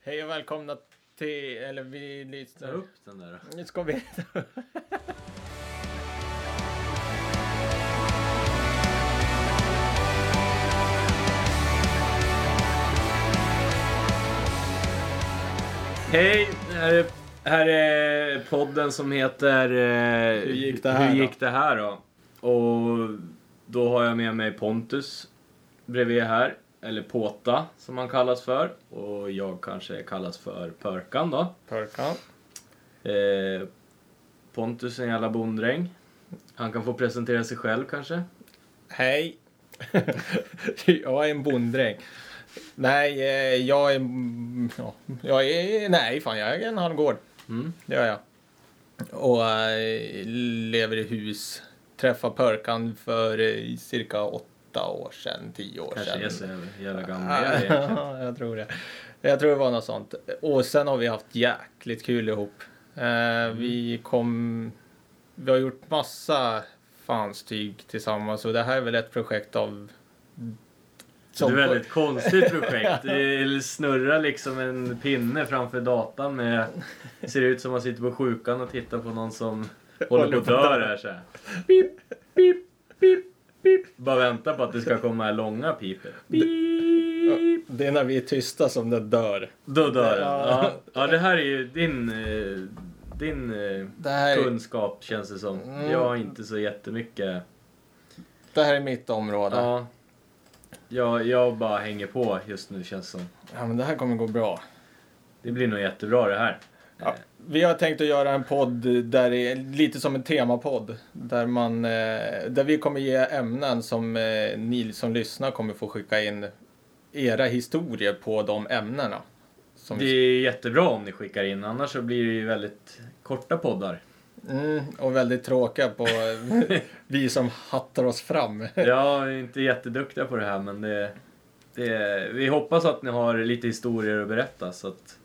Hej och välkomna till... Eller vi lyssnar Ta upp den där. Nu ska vi... Hej! Här är, här är podden som heter... eh, Hur gick det här Hur då?" gick det här då? Och då har jag med mig Pontus bredvid här. Eller Påta som han kallas för. Och jag kanske kallas för Pörkan då. Pörkan. Eh, Pontus är en jävla bonddräng. Han kan få presentera sig själv kanske. Hej. jag är en bonddräng. Nej, eh, jag är... mm, Ja, jag är... Nej, fan jag äger en halvgård. Mm. Det gör jag. Och eh, lever i hus. Träffade Pörkan för eh, cirka åtta år sedan, tio år Kanske sedan. är så jävla, jävla gammal jag är egentligen. Ja, jag tror det. Jag tror det var något sånt. Och sen har vi haft jäkligt kul ihop. Eh, Vi kom... Vi har gjort massa fanstyg tillsammans och det här är väl ett projekt av... det är ett väldigt konstigt projekt. Det snurrar liksom en pinne framför datan med... Ser ut som man sitter på sjukan och tittar på någon som håller på att dö här så här. Pip, pip, pip, pip. Bara vänta på att det ska komma det här långa pipet. Pip. Det är när vi är tysta som det dör. Då dör den. Ja. Ja. ja, det här är ju din... eh, Din eh, Det här, är- kunskap känns det som. Mm. Jag har inte så jättemycket... det här är mitt område. Ja. Ja. Jag, jag bara hänger på just nu känns det som. men det här kommer gå bra. Det blir nog jättebra det här. Ja, vi har tänkt att göra en podd där det är lite som en temapodd. Där, man, eh, där vi kommer ge ämnen som eh, ni som lyssnar kommer få skicka in era historier på de ämnena. Som Det vi, är jättebra om ni skickar in, annars så blir det ju väldigt korta poddar. mm, och väldigt tråkiga på vi som hattar oss fram. Jag är inte jätteduktiga på det här, men det, det, vi hoppas att ni har lite historier att berätta så att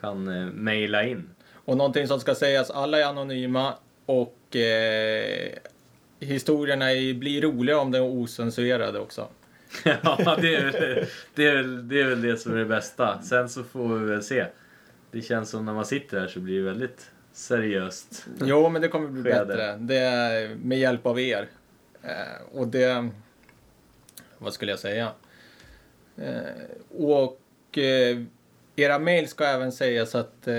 kan eh, mejla in. Och någonting som ska sägas, alla är anonyma och eh, historierna är, blir roliga om de är osensurerade också. ja, det är, väl- det, är, väl- det är väl det som är det bästa. Sen så får vi väl se. Det känns som när man sitter här så blir det väldigt seriöst. Jo, men det kommer bli Typ. Skede. bättre. Det är med hjälp av er. Eh, och det... Vad skulle jag säga? Eh, och eh, era mejl ska även sägas att eh,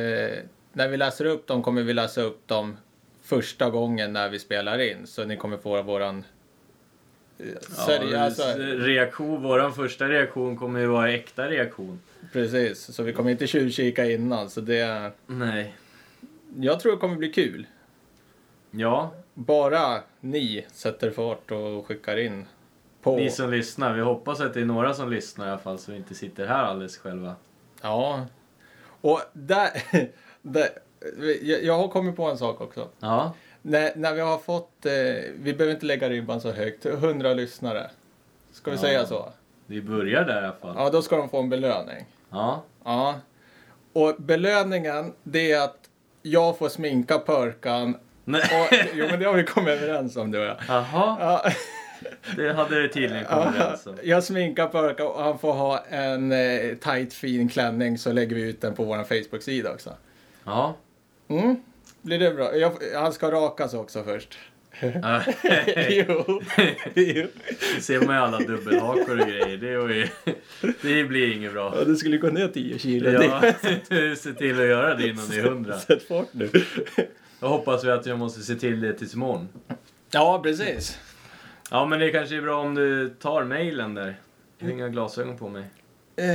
när vi läser upp dem kommer vi läsa upp dem första gången när vi spelar in. Så ni kommer få våran... eh, seri- Ja, alltså, reaktion, våran första reaktion kommer ju vara äkta reaktion. precis, så vi kommer inte tjuvkika innan. Så det... Nej. Jag tror det kommer bli kul. Ja, Bara ni sätter fart och skickar in. På... Ni som lyssnar, vi hoppas att det är några som lyssnar i alla fall så vi inte sitter här alldeles själva. Ja. Och där, där jag, jag har kommit på en sak också. Ja, När, när vi har fått, eh, vi behöver inte lägga ribban så högt, 100 lyssnare. Ska vi Ja. säga så? vi börjar där i alla fall. Ja, då ska de få en belöning. Ja, Ja. Och belöningen, det är att jag får sminka Pörkan. Nej. Och, jo, men det har vi kommit överens om du och jag. Jaha, Ja. det hade det tydligen kommit överens om. Jag sminkar Pörkan och han får ha en eh, tight fin klänning så lägger vi ut den på vår Facebook-sida också. Ja. Mm. Blir det bra? Jag, han ska rakas också först. Ja. jo. jo. Det ser man ju alla dubbelhakor och grejer. Det, är ju, det blir inget bra. Ja, du skulle gå ner 10 kilo. Ja, se till att göra det innan det är hundra. Sätt fart nu. Då hoppas vi att jag måste se till det tills imorgon. ja, precis. Ja, men det kanske är bra om du tar mejlen där. Jag har inga glasögon på mig. Eh,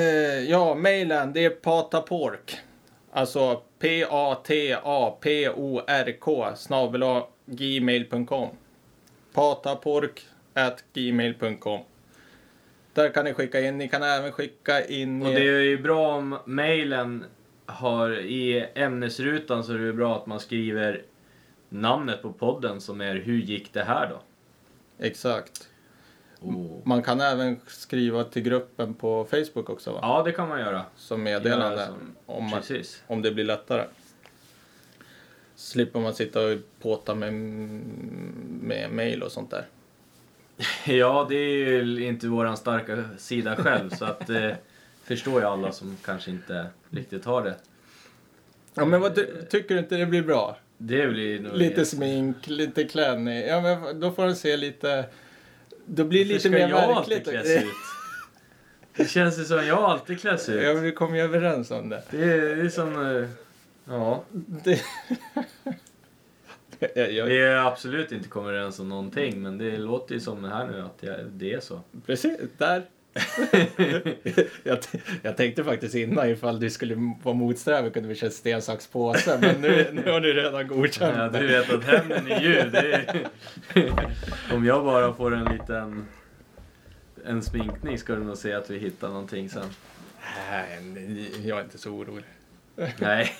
ja, mejlen det är patapork. Alltså p-a-t-a-p-o-r-k snabel gmail.com. Patapork at gmail.com. Där kan ni skicka in. Ni kan även skicka in... Och det är ju bra om mejlen har i ämnesrutan så är det ju bra att man skriver namnet på podden som är Hur gick det här då? Exakt. Och, Man kan även skriva till gruppen på Facebook också va? ja, det kan man göra. Som meddelande. Göra som- om, man, Precis. om det blir lättare. Slipper man sitta och påta med, med mail och sånt där. Ja, det är ju inte våran starka sida själv så att eh, förstår ju alla som kanske inte riktigt har det. Ja, men vad ty- tycker du inte det blir bra? Det blir nog Lite smink, lite klänning. Ja, men då får du se lite... Då blir det Varför lite ska mer jag alltid verkligt. kläs ut? Det känns ju som jag alltid kläs Ja, ut. men vi kom ju överens om det. Det är, det är som... eh, Ja. det... Ja, ja, Vi är absolut inte kommer överens om någonting men det låter ju som det här nu att jag, det är så. precis, där. jag, t- jag tänkte faktiskt innan ifall du skulle vara motsträvig kunde vi köra sten, sax, påse. Men nu, nu har du redan godkänt Ja, det. du vet att hämnden är ju... Det är... Om jag bara får en liten... En sminkning ska du nog se att vi hittar någonting sen. Nej, nej, jag är inte så orolig. Nej.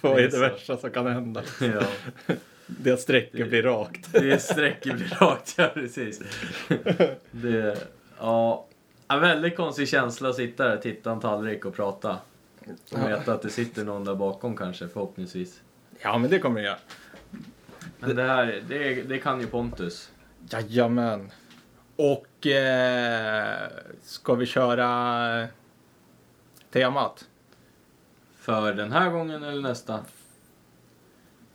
Vad är Det är det så. värsta som kan hända? ja. Det att strecket blir rakt. Det är sträcker blir rakt, ja precis. Det, ja. En väldigt konstig känsla att sitta där, titta en tallrik och prata. Och veta att det sitter någon där bakom kanske, förhoppningsvis. Ja, men det kommer det göra. Men det här, det, det kan ju Pontus. Jajamän. Och eh, ska vi köra temat? För den här gången eller nästa?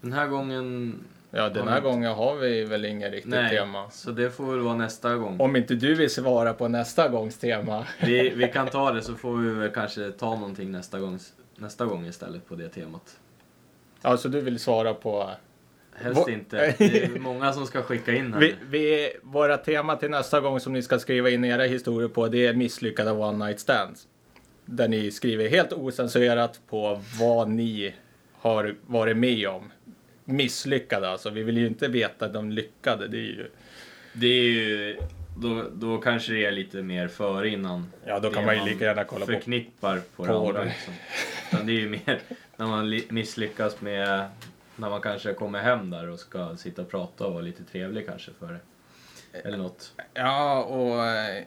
Den här gången... Ja, den här gången har vi väl inget riktigt Nej, tema. så det får väl vara nästa gång. Om inte du vill svara på nästa gångs tema. Vi, vi kan ta det så får vi väl kanske ta någonting nästa gång, nästa gång istället på det temat. Alltså, du vill svara på... Helst Va- inte. Det är många som ska skicka in här Vi, nu. vi, våra tema till nästa gång som ni ska skriva in era historier på, det är misslyckade one night stands. Där ni skriver helt osensuerat på vad ni har varit med om. Misslyckade alltså, vi vill ju inte veta de lyckade. Det är ju... Det är ju, då, då kanske det är lite mer före innan. Ja, då kan det man ju lika gärna kolla på- förknippar på, det på andra. det. Liksom. Utan det är ju mer när man li- misslyckas med, när man kanske kommer hem där och ska sitta och prata och vara lite trevlig kanske för det. Eller något. Ja, och eh,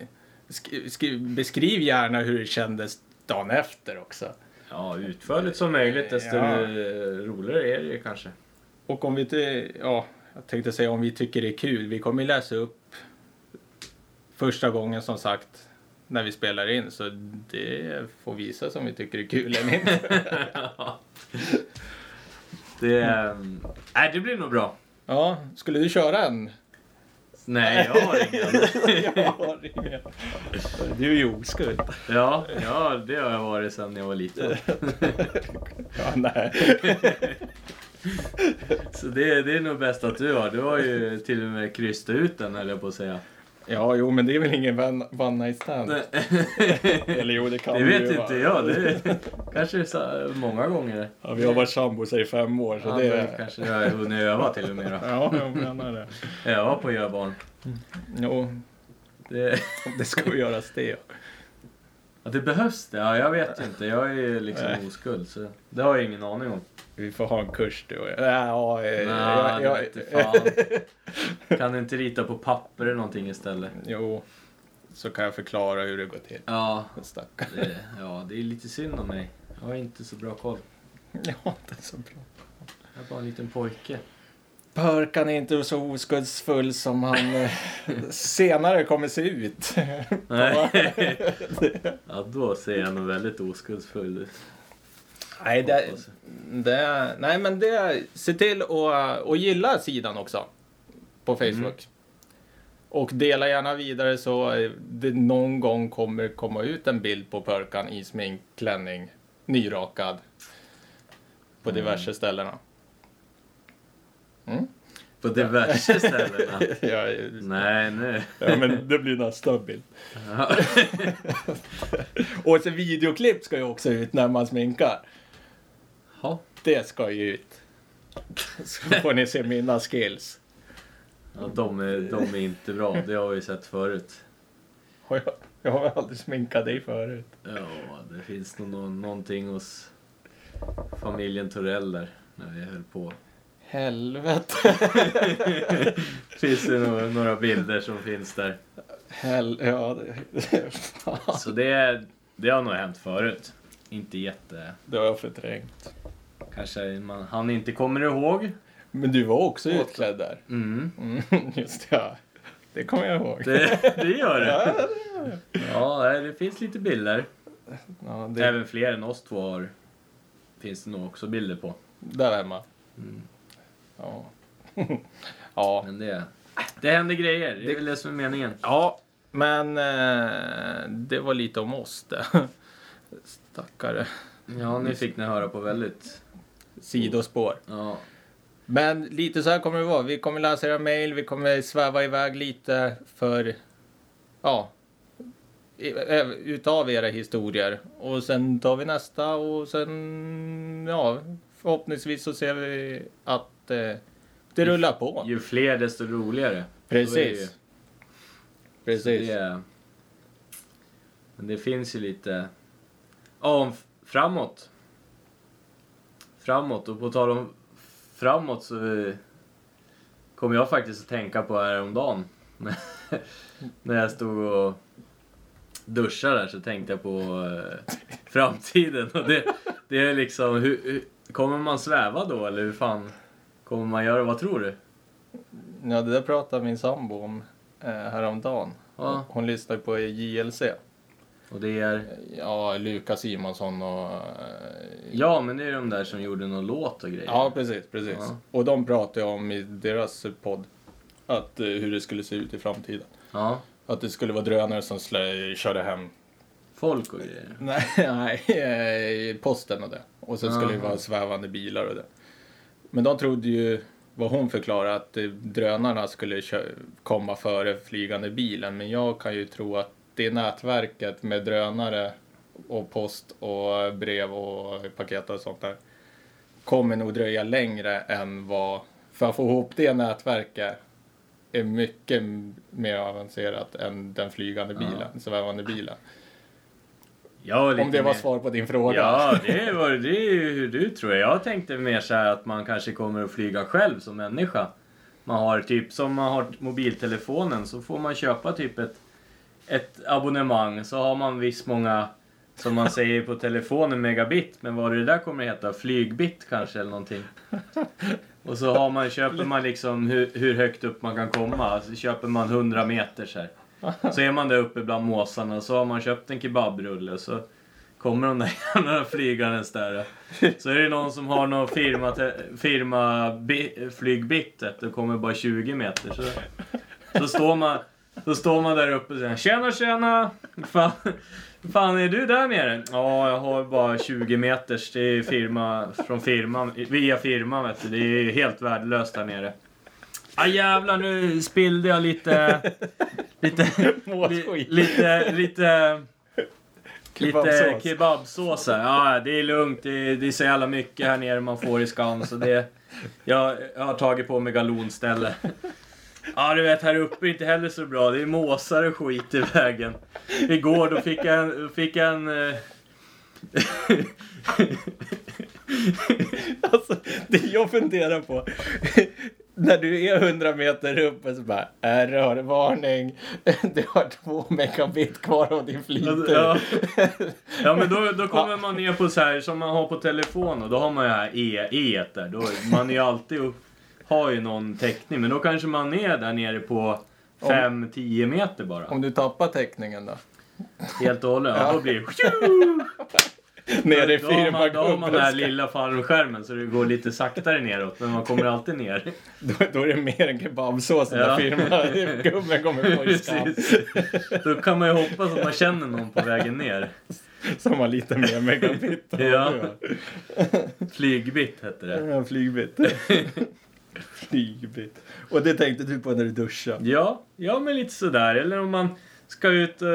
sk- skri- beskriv gärna hur det kändes dagen efter också. Ja, utförligt som möjligt desto Ja. roligare är det ju kanske. Och om vi inte, ja, jag tänkte säga om vi tycker det är kul, vi kommer ju läsa upp första gången som sagt när vi spelar in, så det får visa sig om vi tycker det är kul eller inte. Det, ehm, nej, det blir nog bra. Ja, skulle du köra en? Nej, jag har ingen. Jag har ingen. Du är ju oskuld. Ja, ja, det har jag varit sedan jag var liten. Ja, nej. Så det, det är nog bäst att du har. Du har ju till och med krystat ut den höll jag på att säga. Ja, jo, men det är väl ingen one- one night stand? Eller jo, det kan det Det ju vet vara. inte jag. Det kanske är så många gånger. Ja, vi har varit sambos i fem år, så Ja, det... det kanske jag har hunnit öva till och med då. Ja, jag menar det. Öva på att göra barn. Jo, Det, det ska ju göras det. att det behövs det? Ja, jag vet inte. Jag är ju liksom oskuld. Så det har jag ingen aning om. Vi får ha en kurs du och jag. Nej, ja, eh, jag, Nej, jag, jag, fan. Kan du inte rita på papper eller någonting istället? Jo, så kan jag förklara hur det går till. Ja, Stackarn. det, ja, det är lite synd om mig. Jag har inte så bra koll. Ja, det är så bra. Jag är bara en liten pojke. Pörkan är inte så oskuldsfull som han eh, senare kommer se ut. Nej. ja, då ser jag nog väldigt oskuldsfull ut. Nej, det, det, nej, men det, se till att och gilla sidan också på Facebook. Och dela gärna vidare så det någon gång kommer komma ut en bild på Pörkan i sminkklänning, nyrakad, på diverse ställena. Mm. På diverse ställena. ja, Nej, nu. ja, men det blir nästa bild. och så videoklipp ska ju också ut när man sminkar. Ja. Det ska ju ut. Så får ni se mina skills. Ja, de, är, de är inte bra, det har vi sett förut. Har Jag, jag har aldrig sminkat dig förut. Ja, det finns nog nå- någonting hos familjen Torell där, när vi höll på. Helvete. Finns det nog några bilder som finns där. Hel ja, det, fan. Så det, det har nog hänt förut. Inte jätte... det har jag förträngt. Kanske man, han inte kommer ihåg. Men du var också utklädd där. Mm. Mm, just det. Ja. Det kommer jag ihåg. Det, det gör Ja, det. det gör jag. Ja, nej, det finns lite bilder. ja, det, Även fler än oss två har, finns det nog också bilder på. där är man. Ja. ja. Men det, det händer grejer. Det är väl det som är meningen. Ja, men eh, det var lite om oss det. Stackare. Ja, nu fick ni höra på väldigt... Sidospår. Ja. Men lite så här kommer det vara. Vi kommer läsa era mejl, vi kommer sväva iväg lite för... Ja. i- ö- Utav era historier. Och sen tar vi nästa och sen... Ja, förhoppningsvis så ser vi att eh, det rullar på. Ju fler desto roligare. Så är det ju. Precis. Precis. Det är- men det finns ju lite... Ja, om f- framåt. Framåt, och på tal om framåt så eh, kom jag faktiskt att tänka på häromdagen. När jag stod och duschade där så tänkte jag på eh, framtiden. Och det, det är liksom, hur, hur, kommer man sväva då eller hur fan kommer man göra? Vad tror du? Ja, det där pratade min sambo om eh, häromdagen. Ja. Hon lyssnar på JLC. Och det är... Ja, Lukas Simonsson och... eh, Ja, men det är de där som gjorde någon låt och grejer. Ja, precis, precis. Ja. Och de pratade om i deras podd att eh, hur det skulle se ut i framtiden. Ja, Att det skulle vara drönare som slö, körde hem... folk och grejer. Nej, nej, eh, posten och det. Och sen skulle det Aha. vara svävande bilar och det. Men de trodde ju, vad hon förklarade, att eh, drönarna skulle kö- komma före flygande bilen. Men jag kan ju tro att det nätverket med drönare och post och brev och paket och sånt där kommer nog dröja längre än vad... För att få ihop det nätverket är mycket m- mer avancerat än den flygande bilen, svävande bilen. Ja, lite Om det var mer- svar på din fråga. Ja, det, var, det är ju hur du tror. Jag tänkte mer så här att man kanske kommer att flyga själv som människa. Man har typ, som man har mobiltelefonen så får man köpa typ ett, ett abonnemang. Så har man viss många, som man säger på telefonen, megabit. Men vad det där kommer att heta, flygbit kanske eller någonting. Och så har man, köper man liksom hur, hur högt upp man kan komma. Så köper man 100 meter så här. Så är man där uppe bland måsarna och så har man köpt en kebabrulle. Så kommer de där jävla flygandes där. Så är det någon som har någon firma, firma bi, flygbittet och kommer bara 20 meter. Så, så, står, man, så står man där uppe och säger “Tjena, tjena! Fan, fan är du där nere?” “Ja, jag har bara 20 meters. Det är firma, från firman, via firman vet du. Det är helt värdelöst där nere.” Ah, jävlar, nu spillde jag lite... Lite... li, Måsskit. lite... lite Lite Kebabsås. kebabsås här. Ja, det är lugnt. Det är, det är så jävla mycket här nere man får i skam. Så det, jag, jag har tagit på mig galonställe. Ja, du vet, här uppe är inte heller så bra. Det är måsar och skit i vägen. Igår då fick jag en... Fick jag en eh, Alltså, det jag funderar på. När du är 100 meter uppe så bara, är rörvarning. Du har två megabit kvar av din flyttur. Alltså, ja, ja, men då, då kommer man ner på så här som man har på telefon. Och då har man ju här E, e där. Då, man är ju alltid och har ju någon täckning. Men då kanske man är där nere på 5-10 meter bara. Om du tappar täckningen då? Helt och hållet. Ja. Då blir det... Nere i Då har man, då har man den här firmagubbens lilla fallskärmen så det går lite saktare neråt. Men man kommer alltid ner. då, då är det mer än kebabsås den Ja. där firmagubben kommer få i skam. Precis. Då kan man ju hoppas att man känner någon på vägen ner. Som har lite mer megabit. än vad Ja. du har. Flygbitt hette det. Ja, Flygbit. Flygbit. Och det tänkte du på när du duschade? Ja, ja men lite sådär. Eller om man ska ut eh,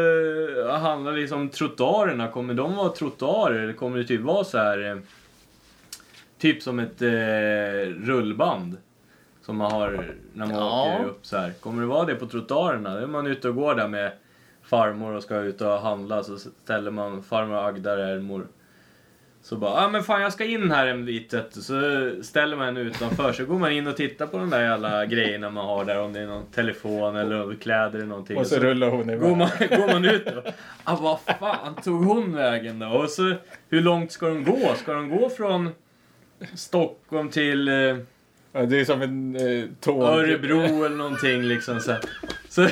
och handla liksom trottoarerna. Kommer de vara trottoarer eller kommer det typ vara så här eh, Typ som ett eh, rullband. Som man har när man Ja. åker upp så här. Kommer det vara det på trottoarerna? Då är man ute och går där med farmor och ska ut och handla så ställer man farmor Agda där mor. Så bara, ja ah, men fan jag ska in här en bit vet du." Så ställer man henne utanför så går man in och tittar på de där alla grejerna man har där. Om det är någon telefon eller kläder eller någonting. Och så rullar hon Går iväg. man, går man ut då? Ah, vad fan tog hon vägen då? Och så, hur långt ska de gå? Ska de gå från Stockholm till eh, Ja, det är som en eh, tåg. Örebro eller någonting liksom så här. Så,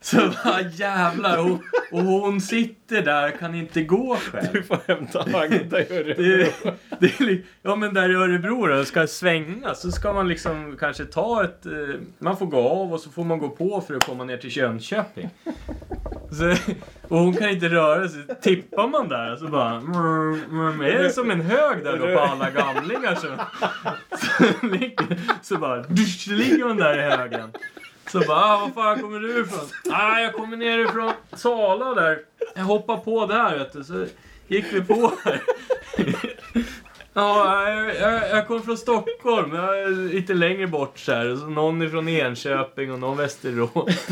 så bara jävlar, hon, och hon sitter där, kan inte gå själv. Du får hämta Agda i Örebro. Det, det är, li- ja men där i Örebro då, ska svänga så ska man liksom kanske ta ett... eh, Man får gå av och så får man gå på för att komma ner till Jönköping. Så, och hon kan inte röra sig. Tippar man där så bara... mm, mm, Är det som en hög där då på alla gamlingar som... Så, ligger- så bara... dusch, ligger hon där i högen. Så bara, ah, var fan kommer du ifrån? Ah, jag kommer ner ifrån Sala där. Jag hoppar på där vet du. Så gick vi på här. Ja, jag, jag, jag kom från Stockholm, jag är lite längre bort så här. Så någon ifrån Enköping och någon Västerås.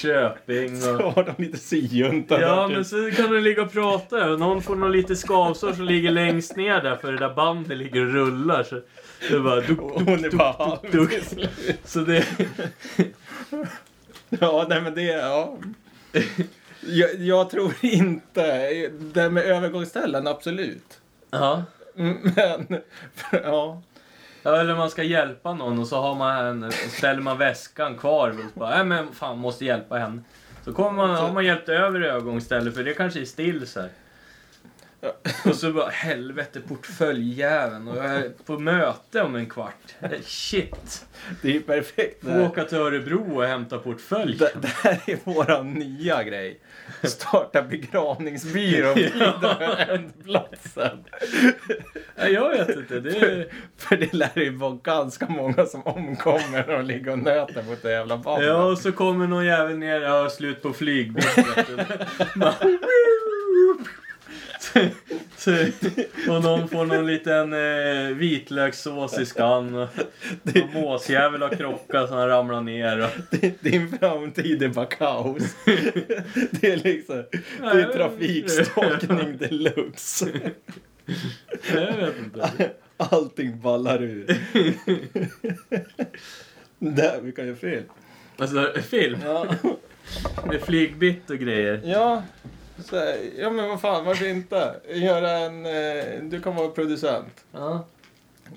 Köping Så och... har de lite syjunta Ja, där, men typ. så kan de ligga och prata där. och Någon får någon lite skavsår som ligger längst ner där för det där bandet ligger och rullar. Så det bara... Duk, Och Hon är duk, bara duk, halv duk. till slut. Så det... Ja, nej men det, är- ja. Jag, jag tror inte, det här med övergångsställen, absolut. Ja. Mm, Men, ja. Ja, eller man ska hjälpa någon och så har man henne, och ställer man väskan kvar och så bara, nej men fan måste hjälpa henne. Så kommer man, har man hjälpt över ögonstället för det kanske är still så här. Och så bara, helvete portföljjäveln och jag är på möte om en kvart. Eh, Shit! Det är ju perfekt. Får åka till Örebro och hämta portfölj. Det, det här är våran nya grej. Starta begravningsbyrå vid ändplatsen. Nej, jag vet inte, det är... För det lär ju vara ganska många som omkommer när de ligger och nöter mot det jävla bandet. Ja, och så kommer någon jävel ner, ja slut på flygbiljetten. Man- så, så, och någon får någon liten eh, vitlökssås i skan. Och någon måsjävel har krockat så han ramlar ner. Och, Din framtid är bara kaos. Det är liksom, det är trafikstakning deluxe. jag vet inte. Allting ballar ur. Där, vi kan göra fel. Alltså film Ja, med flygbitt och grejer. ja. Så, här, ja men vad fan, varför inte? Göra en, eh, du kan vara producent. Ja.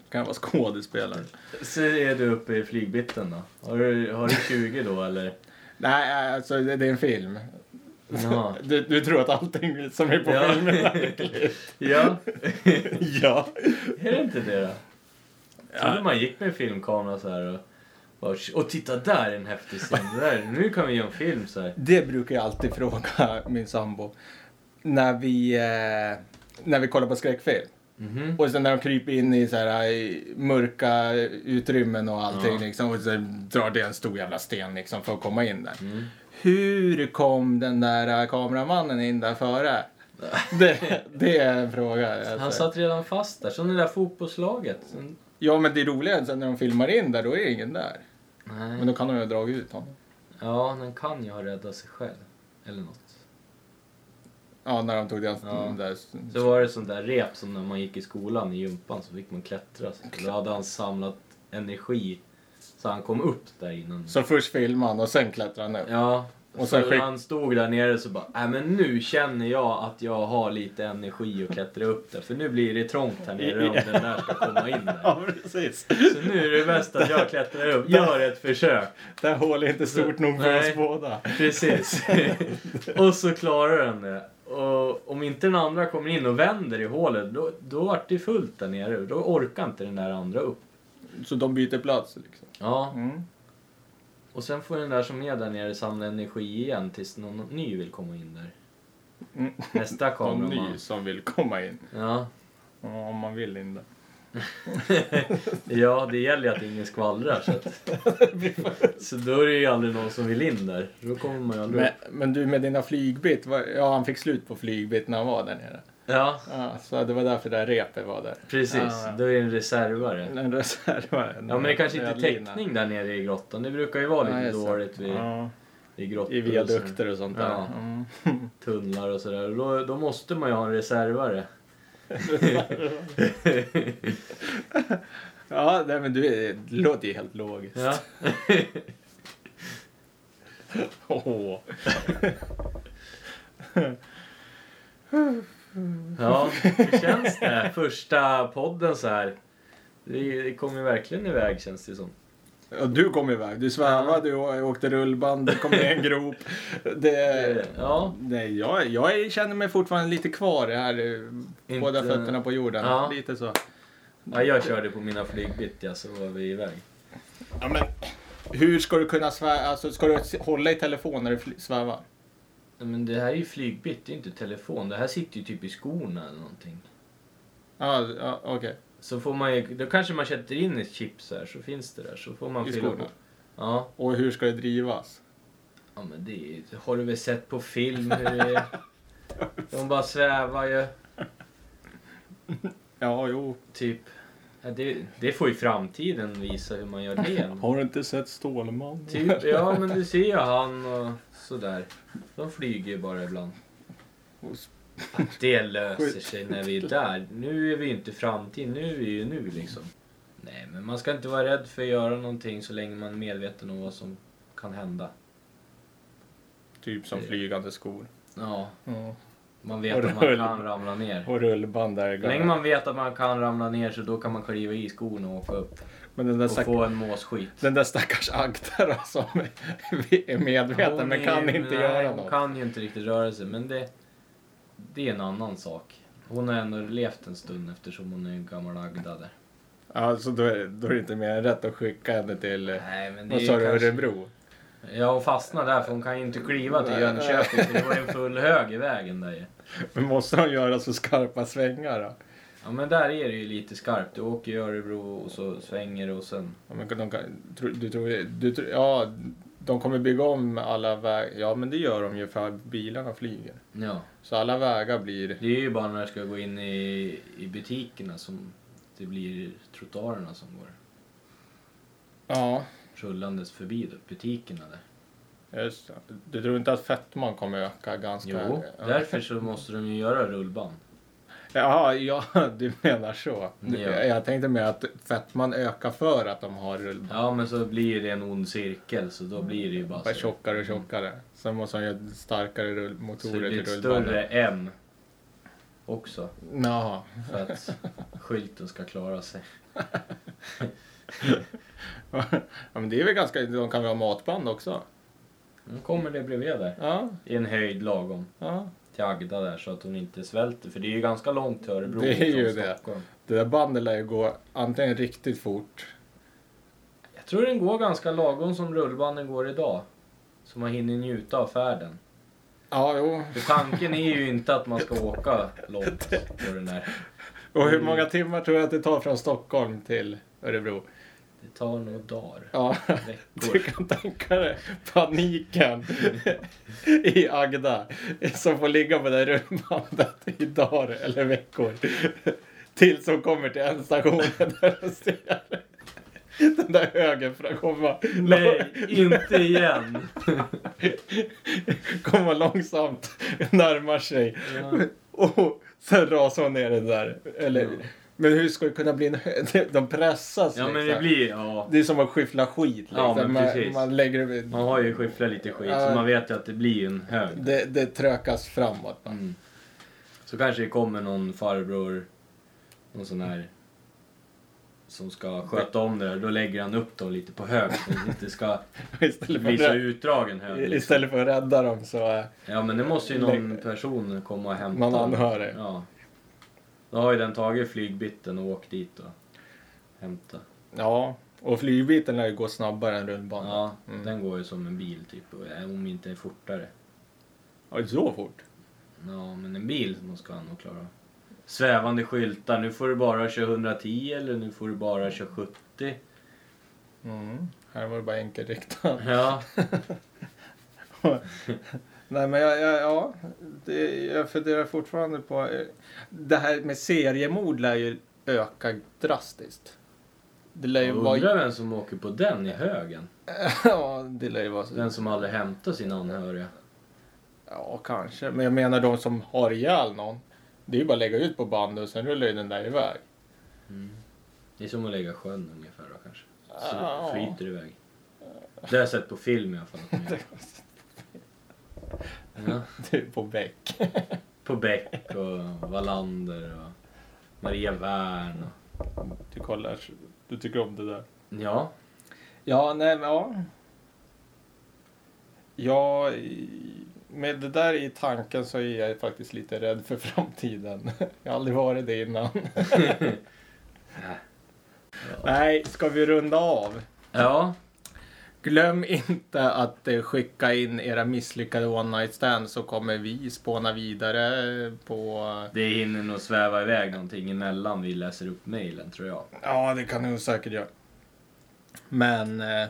Kan vara skådespelare. Så är du uppe i flygbitten då? Har du, har du 20 då eller? Nej, alltså det, det är en film. Ja. Du, du tror att allting som är på Ja. filmen är verkligt? ja. Ja. Är det inte det då? Trodde man gick med filmkamera så här och bara, och titta där är en häftig scen, Det där, nu kan vi göra en film så här. Det brukar jag alltid fråga min sambo. När vi, eh, när vi kollar på skräckfilm. Mhm. Och sen när de kryper in i, så här, i mörka utrymmen och allting. Ja. Liksom, och så drar det en stor jävla sten liksom, för att komma in där. Mm. Hur kom den där eh, kameramannen in där före? Det, det är en fråga. Han Alltså. satt redan fast där, som det där fotbollslaget. Mm. Som- Ja men det roliga är att sen när de filmar in där, då är ingen där. Men Nej. då kan de ju ha dragit ut honom. Ja, den kan ju ha räddat sig själv. Eller något. Ja, när de tog den Ja. där. Så var det sånt där rep som när man gick i skolan i gympan så fick man klättra. Så då hade han samlat energi så han kom upp där innan. Så först filmar han och sen klättrar han upp. Ja. Och Och sen så skick- han stod där nere så bara, nej men nu känner jag att jag har lite energi att klättra upp där. För nu blir det trångt här nere om den där ska komma in där. precis. Så nu är det bäst att jag klättrar upp. Gör ett försök. Det här hålet är inte stort nog för Nej. oss båda. Precis. och så klarar den det. Och om inte den andra kommer in och vänder i hålet, då, då vart det fullt där nere. Då orkar inte den där andra upp. Så de byter plats liksom. Ja. Mm. Och sen får den där som är där nere samla energi igen tills någon ny vill komma in där. Mm. Nästa Någon ny kameraman. som vill komma in. Ja. Ja, om man vill inte. Ja, det gäller ju att ingen skvallrar. Så, att... så då är det ju aldrig någon som vill in där. Då kommer man ju aldrig Men, men du med dina flygbit, vad- ja han fick slut på flygbit när han var där nere. Ja, Ja, så det var därför det där repet var där. precis. Ja. Då är det en reservare. En reservare. Ja, men det kanske inte är täckning där nere i grottan. Det brukar ju vara lite Nej, så- dåligt vid, Ja, vid grottor. I och så- viadukter och sånt där. Ja. Mm. Tunnlar och sådär. Och Då, då måste man ju ha en reservare. Ja, nej, men du, är- det låter ju helt logiskt. Ja. Åh. ja, hur känns det? Första podden så här. Det det kom ju verkligen iväg känns det som. Ja, du kom iväg. Du svävade, du åkte rullband, du kom ner i en grop. Eh, Det, Ja. nej, jag, jag känner mig fortfarande lite kvar här. eh, Båda Inte- fötterna på jorden. Ja. Lite så. ja, jag körde på mina flygbitt ja, så var vi iväg. Ja, men, hur ska du kunna sväva? Alltså, ska du s- hålla i telefon när du fly- svävar? Ja, Men det här är ju flygbitt, det är inte telefon. Det här sitter ju typ i skorna eller någonting. Ja, ja okej. Så får man ju, då kanske man sätter in ett chip så här, så finns det där. Så får man I fylla skorna. på. Ja. Och hur ska det drivas? Ja men det är, det har du väl sett på film hur det är. De bara svävar ju. Ja, jo. Typ. Ja, det, det får ju framtiden visa hur man gör det. Har du inte sett Stålman? Typ, ja men du ser ju han och sådär. De flyger ju bara ibland. Att det löser sig när vi är där. Nu är vi ju inte framtid, nu är vi ju nu liksom. Nej men man ska inte vara rädd för att göra någonting så länge man är medveten om vad som kan hända. Typ som flygande skor. Ja, Ja. man vet Och att man rull. kan ramla ner. Och rullband där. Så länge man vet att man kan ramla ner så då kan man kliva i skorna och åka upp Men den där, och stack... få en måsskit. den där stackars Agda då, som är medveten Hon men är- kan inte nej, göra Hon något. kan ju inte riktigt röra sig men det, det är en annan sak. Hon har ändå levt en stund eftersom hon är en gammal Agda där. Alltså då är, då är det inte mer än rätt att skicka henne till eh, Nej men det vad är sa du, ju kanske... Örebro? Ja hon fastnar där för hon kan ju inte kliva till Nej. Jönköping för det var ju en full hög i vägen där ju. Men måste de göra så skarpa svängar då? Ja men där är det ju lite skarpt. Du åker i Örebro och så svänger det och sen... Ja, men de kan, tror- du tror, du tror, ja, de kommer bygga om alla vägar. Ja, men det gör de ju för att bilarna flyger. Ja. Så alla vägar blir... Det är ju bara när jag ska gå in i, i butikerna som det blir trottoarerna som går Ja, rullandes förbi då, butikerna där. just det. Du tror inte att fetman kommer öka ganska... Jo, Ja. därför så måste de ju göra rullband. Jaha, ja, du menar så. Du- Ja. Jag tänkte mer att fetman ökar för att de har rullband. Ja, men så blir ju det en ond cirkel så då blir det ju bara Bara så. Mm. tjockare och tjockare. Sen måste de göra starkare rull- Så det motorer blir till ett rullbanden. större M också Jaha. för att skylten ska klara sig. ja, men det är väl ganska... De kan väl ha matband också? Nu kommer det bredvid där. Ja, I en höjd lagom ja. till Agda där så att hon inte svälter. För det är ju ganska långt till Örebro Det är ju från det. Stockholm. Det där bandet lär ju gå antingen riktigt fort. Jag tror den går ganska lagom som rullbanden går idag. Så man hinner njuta av färden. Ja, jo. För tanken är ju inte att man ska åka långt på den här. Och Mm. hur många timmar tror du att det tar från Stockholm till Örebro? Det tar några dagar. Ja, du Veckor. kan tänka dig paniken i Agda som får ligga på det där rullbandet i dagar eller veckor. Tills hon kommer till ändstationen där hon ser den där högen för att komma, Nej, inte igen! komma långsamt närmar sig. Och sen rasar hon ner det där. Eller, Ja. Men hur ska det kunna bli en hö- De pressas Ja men det liksom. blir, ja. Det är som att skyffla skit. Liksom. Ja, men man, precis. man lägger det, Man har ju skyfflat lite skit så man vet ju att det blir en hög. det, det trökas framåt. va. Mm. Så kanske det kommer någon farbror, någon sån här som ska sköta om det där. Då lägger han upp dem lite på hög så det inte ska Istället, för bli att, så rä- utdragen hög. liksom. istället för att rädda dem så är Ja men det måste ju någon person komma och hämta. man anhörig. Ja. Då har ju den tagit flygbiten och åkt dit och hämta. Ja, och flygbiten lär ju gå snabbare än rullbanan. Ja, Mm. den går ju som en bil typ, och är- om inte fortare. Ja. det är så fort? Ja, men en bil måste han nog klara. av. Svävande skyltar, nu får du bara köra 110 eller nu får du bara köra 70. Mm. Här var det bara enkelriktad. Ja, Nej men jag, jag, ja, det, jag funderar fortfarande på... eh, Det här med seriemord lär ju öka drastiskt. Det lär ju vara... undrar vem som åker på den i högen. ja, det lär ju vara så. Den som aldrig hämtar sina anhöriga. Ja, kanske. Men jag menar de som har ihjäl någon. Det är ju bara att lägga ut på band och sen rullar ju den där iväg. Mm. Det är som att lägga sjön ungefär då kanske. Så Ja. flyter iväg. Det har jag sett på film i alla fall. att de gör. Ja, Det är på bäck. på Beck och Wallander och Maria Wern. Och... Du kollar, du tycker om det där. Ja, Ja, nej, men ja. Ja, med det där i tanken så är jag faktiskt lite rädd för framtiden. Jag har aldrig varit det innan. Nej, ska vi runda av? Ja. Glöm inte att eh, skicka in era misslyckade one night stands så kommer vi spåna vidare på... Det hinner nog sväva iväg någonting emellan vi läser upp mejlen tror jag. eh, Ja, det kan ni nog säkert göra. Men... eh, Det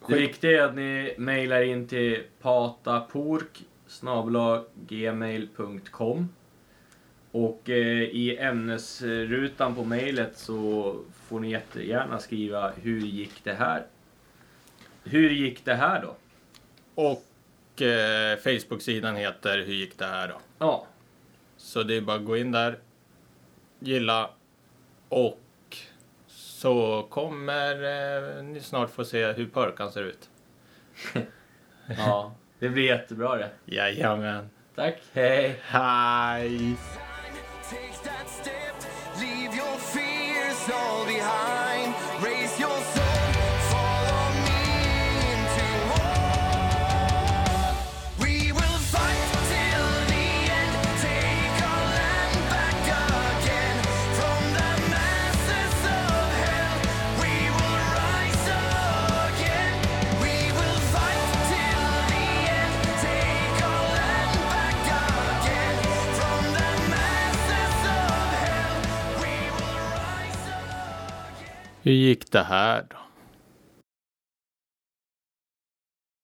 Skick- viktiga är att ni mejlar in till patapork gmail.com och eh, i ämnesrutan på mejlet så får ni jättegärna skriva hur gick det här? Hur gick det här då? Och eh, Facebook-sidan heter Hur gick det här då? Ja, Så det är bara att gå in där, gilla och så kommer eh, ni snart få se hur pörkan ser ut. ja det blir jättebra det. Jajamän. Tack, hej! Hej! Take that step, leave your fears all behind. Raise your soul, follow me into war. We will fight till the end, take our land back again from the masses of hell. We will rise again. We will fight till the end, take our land back again from the masses of hell. We will rise again. Hur gick det här då?